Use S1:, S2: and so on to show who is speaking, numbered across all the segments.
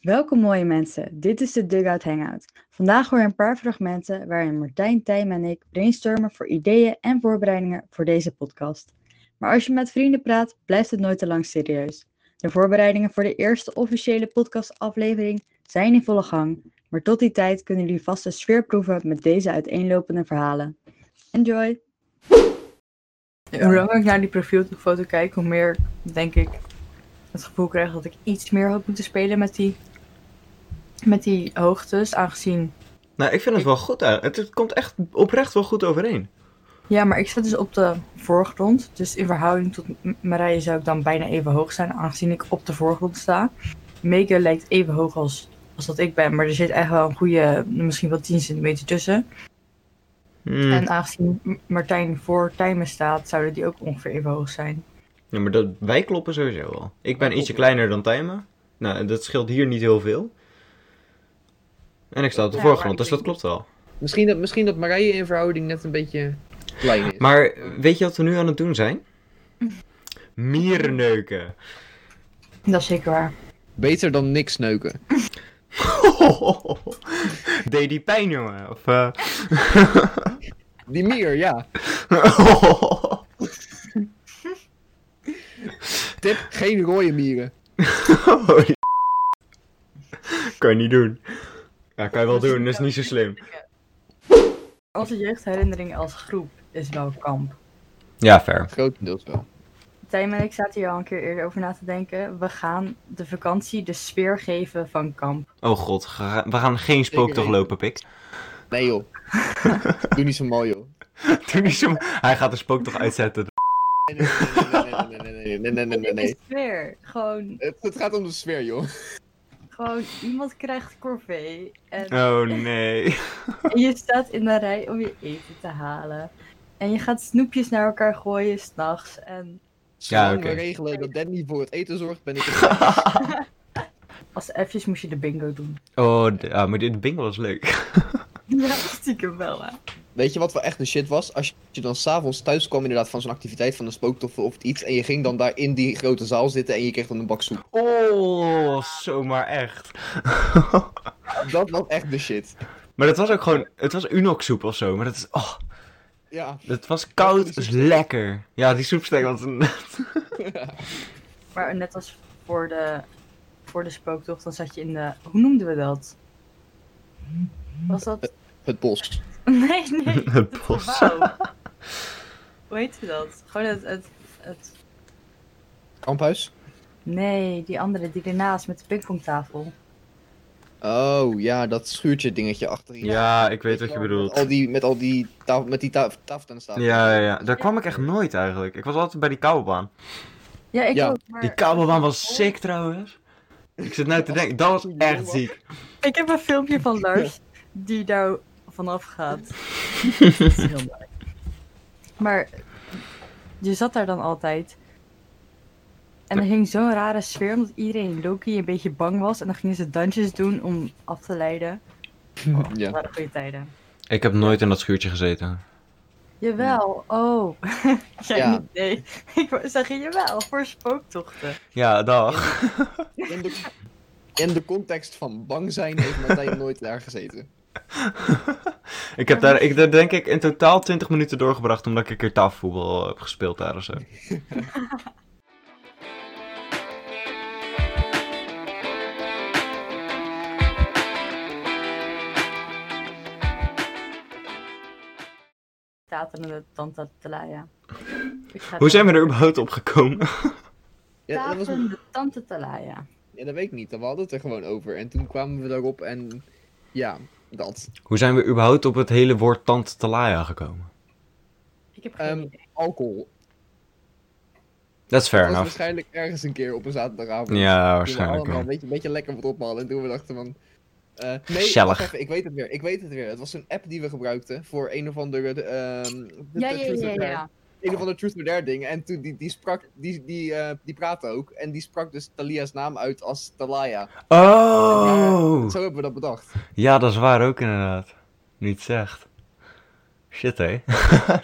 S1: Welkom mooie mensen, dit is de Dugout Hangout. Vandaag hoor je een paar fragmenten waarin Martijn, Tijm en ik brainstormen voor ideeën en voorbereidingen voor deze podcast. Maar als je met vrienden praat, blijft het nooit te lang serieus. De voorbereidingen voor de eerste officiële podcastaflevering zijn in volle gang, maar tot die tijd kunnen jullie vast de sfeer proeven met deze uiteenlopende verhalen. Enjoy!
S2: Hoe langer ik naar die profielfoto kijk, hoe meer denk ik het gevoel krijg dat ik iets meer had moeten spelen met die, met die hoogtes. Aangezien.
S3: Nou, ik vind het wel goed uit. Het, het komt echt oprecht wel goed overeen.
S2: Ja, maar ik zat dus op de voorgrond. Dus in verhouding tot M- Marije zou ik dan bijna even hoog zijn, aangezien ik op de voorgrond sta. Mega lijkt even hoog als, als dat ik ben, maar er zit echt wel een goede, misschien wel 10 centimeter tussen.
S3: Hmm.
S2: En aangezien M- Martijn voor Tijmen staat, zouden die ook ongeveer even hoog zijn.
S3: Ja, maar dat, wij kloppen sowieso al. Ik ben ietsje kleiner dan Tijmen. Nou, en dat scheelt hier niet heel veel. En ik sta op de
S2: Ja, maar
S3: voorgrond,
S2: ik
S3: dus dat
S2: denk-
S3: klopt wel.
S4: Misschien dat, misschien dat Marije in verhouding net een beetje klein is.
S3: Maar weet je wat we nu aan het doen zijn? Mierneuken.
S2: Dat is zeker waar.
S4: Beter dan niks sneuken.
S3: Deed die pijn, jongen? Of, eh,
S4: Die mier, ja. Tip, geen rode mieren.
S3: Holy kan je niet doen. Ja, kan je wel doen, dat is niet zo slim.
S2: Onze jeugdherinnering als groep is wel kamp.
S3: Ja, fair.
S4: Grotendeels wel.
S2: Tijm en ik zaten hier al een keer eerder over na te denken. We gaan de vakantie de sfeer geven van kamp.
S3: Oh god, ga- we gaan geen spooktocht lopen, pik.
S4: Nee joh. Doe niet zo mooi joh.
S3: Doe niet zo... Hij gaat de spooktocht uitzetten.
S4: Nee, nee, nee, nee, nee, nee, nee, nee, nee, nee, nee.
S2: De sfeer. Gewoon,
S4: Het, het gaat om de sfeer joh.
S2: gewoon iemand krijgt corvée. En
S3: Oh nee.
S2: je staat in de rij om je eten te halen. En je gaat snoepjes naar elkaar gooien s'nachts. En
S4: Zolang
S3: oké.
S4: we regelen dat Danny voor het eten zorgt, ben ik
S2: als F'jes moest je de bingo doen.
S3: Oh, d- ah, maar dit bingo was leuk.
S2: Ja, stiekem wel hè.
S4: Weet je wat wel echt de shit was? Als je dan s'avonds thuis kwam inderdaad van zo'n activiteit, van een spooktoffel of iets, en je ging dan daar in die grote zaal zitten en je kreeg dan een bak soep.
S3: Oh, zomaar echt.
S4: Dat was echt de shit.
S3: Maar dat was ook gewoon... Het was unoksoep of zo, maar dat is... Oh,
S4: Ja.
S3: dat was koud, dat is lekker. Ja, die soepsteek was een...
S2: Maar net als voor de, voor de spooktocht, dan zat je in de... Hoe noemden we dat? Was dat...
S4: Het bos.
S2: Nee, nee.
S3: Het
S2: het
S3: bos.
S2: gebouw. Hoe heette dat? Gewoon het, het, het...
S4: Kamphuis?
S2: Nee, die andere, die ernaast met de pingpongtafel.
S4: Oh ja, dat schuurtje dingetje achterin.
S3: Ja, ik weet wat je
S4: Met
S3: bedoelt.
S4: al die, met al die tafel, met die tafel, tafel aan de tafel.
S3: Ja, ja, ja. Daar kwam ik echt nooit eigenlijk. Ik was altijd bij die kabelbaan.
S2: Ja, ik
S4: Ja.
S2: ook, maar...
S3: Die kabelbaan was sick trouwens. Ik zit nou te denken, dat was echt ziek.
S2: Ik heb een filmpje van Lars die daar vanaf gaat. Dat is heel mooi. Maar je zat daar dan altijd. En er ging zo'n rare sfeer omdat iedereen Loki een beetje bang was. En dan gingen ze dansjes doen om af te leiden. Dat
S4: ja.
S2: waren goede tijden.
S3: Ik heb nooit in dat schuurtje gezeten.
S2: Jawel, oh. Jij
S4: Ja.
S2: niet, nee. Ik wou zeggen, jawel, voor spooktochten.
S3: Ja, dag.
S4: In de, in de context van bang zijn heeft Martijn nooit daar gezeten.
S3: Ik heb daar, ik, daar denk ik in totaal 20 minuten doorgebracht omdat ik een keer tafelvoetbal eh, heb gespeeld daar of zo.
S2: Taterende tantatalaya. Ik ga-
S3: Hoe zijn we er überhaupt op gekomen?
S4: Ja, dat was een-
S2: Taterende tantatalaya.
S4: ja, dat weet ik niet. We hadden het er gewoon over. En toen kwamen we daarop en ja, dat.
S3: Hoe zijn we überhaupt op het hele woord tante Talaya gekomen?
S2: Ik heb geen
S4: Ehm,
S2: idee.
S4: Alcohol.
S3: Dat is fair
S4: Dat was
S3: enough.
S4: waarschijnlijk ergens een keer op een zaterdagavond.
S3: Ja,
S4: Toen we
S3: waarschijnlijk
S4: allemaal
S3: wel.
S4: een beetje, een beetje lekker wat ophalen. En toen we dachten van... eh, nee,
S3: Gezellig.
S4: wacht even, ik weet het weer. Ik weet het weer. Het was een app die we gebruikten voor een of andere... ehm, de-
S2: Ja,
S4: de
S2: ja,
S4: Truth
S2: ja,
S4: or Dare.
S2: ja.
S4: een of andere Truth or Dare ding. En toen, die, die sprak, die, die, eh, die praatte ook. En die sprak dus Talia's naam uit als Talaya.
S3: Oh!
S4: Zo hebben we dat bedacht.
S3: Ja, dat is waar ook inderdaad. Niet zegt. Shit, hé.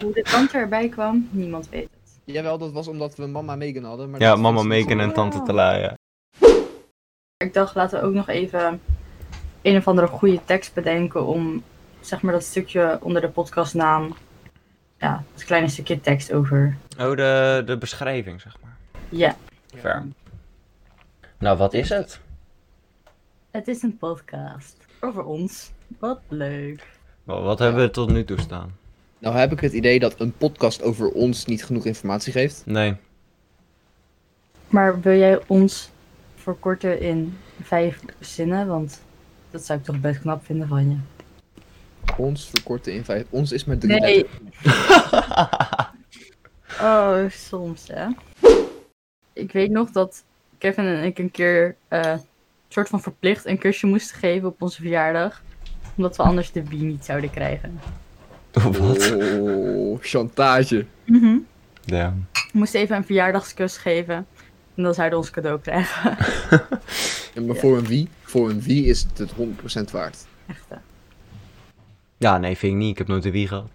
S2: Hoe de tante erbij kwam, niemand weet het.
S4: Jawel, dat was omdat we mama Megan hadden. Maar
S3: Ja,
S4: dat-
S3: mama
S4: dat is-
S3: Megan en tante
S2: Ja.
S3: Talaya.
S2: ik dacht, laten we ook nog even een of andere goede tekst bedenken om zeg maar dat stukje onder de podcastnaam. Ja, het kleine stukje tekst over.
S3: Oh, de, de beschrijving, zeg maar.
S2: Ja,
S3: Ver. Nou, wat is het?
S2: het is een podcast over ons. Wat leuk.
S3: Wat, wat hebben we tot nu toe staan?
S4: Nou heb ik het idee dat een podcast over ons niet genoeg informatie geeft.
S3: Nee.
S2: Maar wil jij ons verkorten in vijf zinnen? Want dat zou ik toch best knap vinden van je.
S4: Ons verkorten in vijf. Ons is met drie
S2: Nee.
S4: letters.
S2: oh, soms hè. Ik weet nog dat Kevin en ik een keer eh soort van verplicht een kusje moesten geven op onze verjaardag. Omdat we anders de bie niet zouden krijgen.
S3: Wat?
S4: Oh, chantage.
S3: Ja.
S2: We moesten even een verjaardagskus geven. En dan zouden we ons cadeau krijgen.
S4: En maar voor een wie? Voor een wie is het het 100% waard.
S2: Echt hè.
S3: Ja, nee, vind ik niet. Ik heb nooit een wie gehad.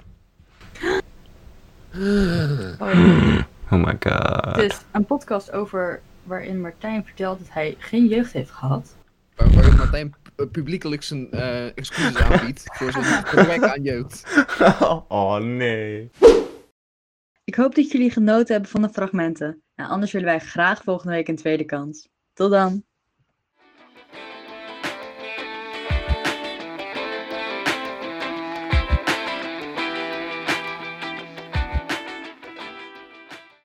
S2: Oh.
S3: Oh my god.
S2: Dus een podcast over waarin Martijn vertelt dat hij geen jeugd heeft gehad.
S4: Waar- Waarin Martijn pu- publiekelijk zijn eh, excuses aanbiedt voor zijn gebrek aan jeugd.
S3: Oh nee.
S1: Ik hoop Nou, dat jullie genoten hebben van de fragmenten. En anders willen wij graag volgende week een tweede kans. Tot dan!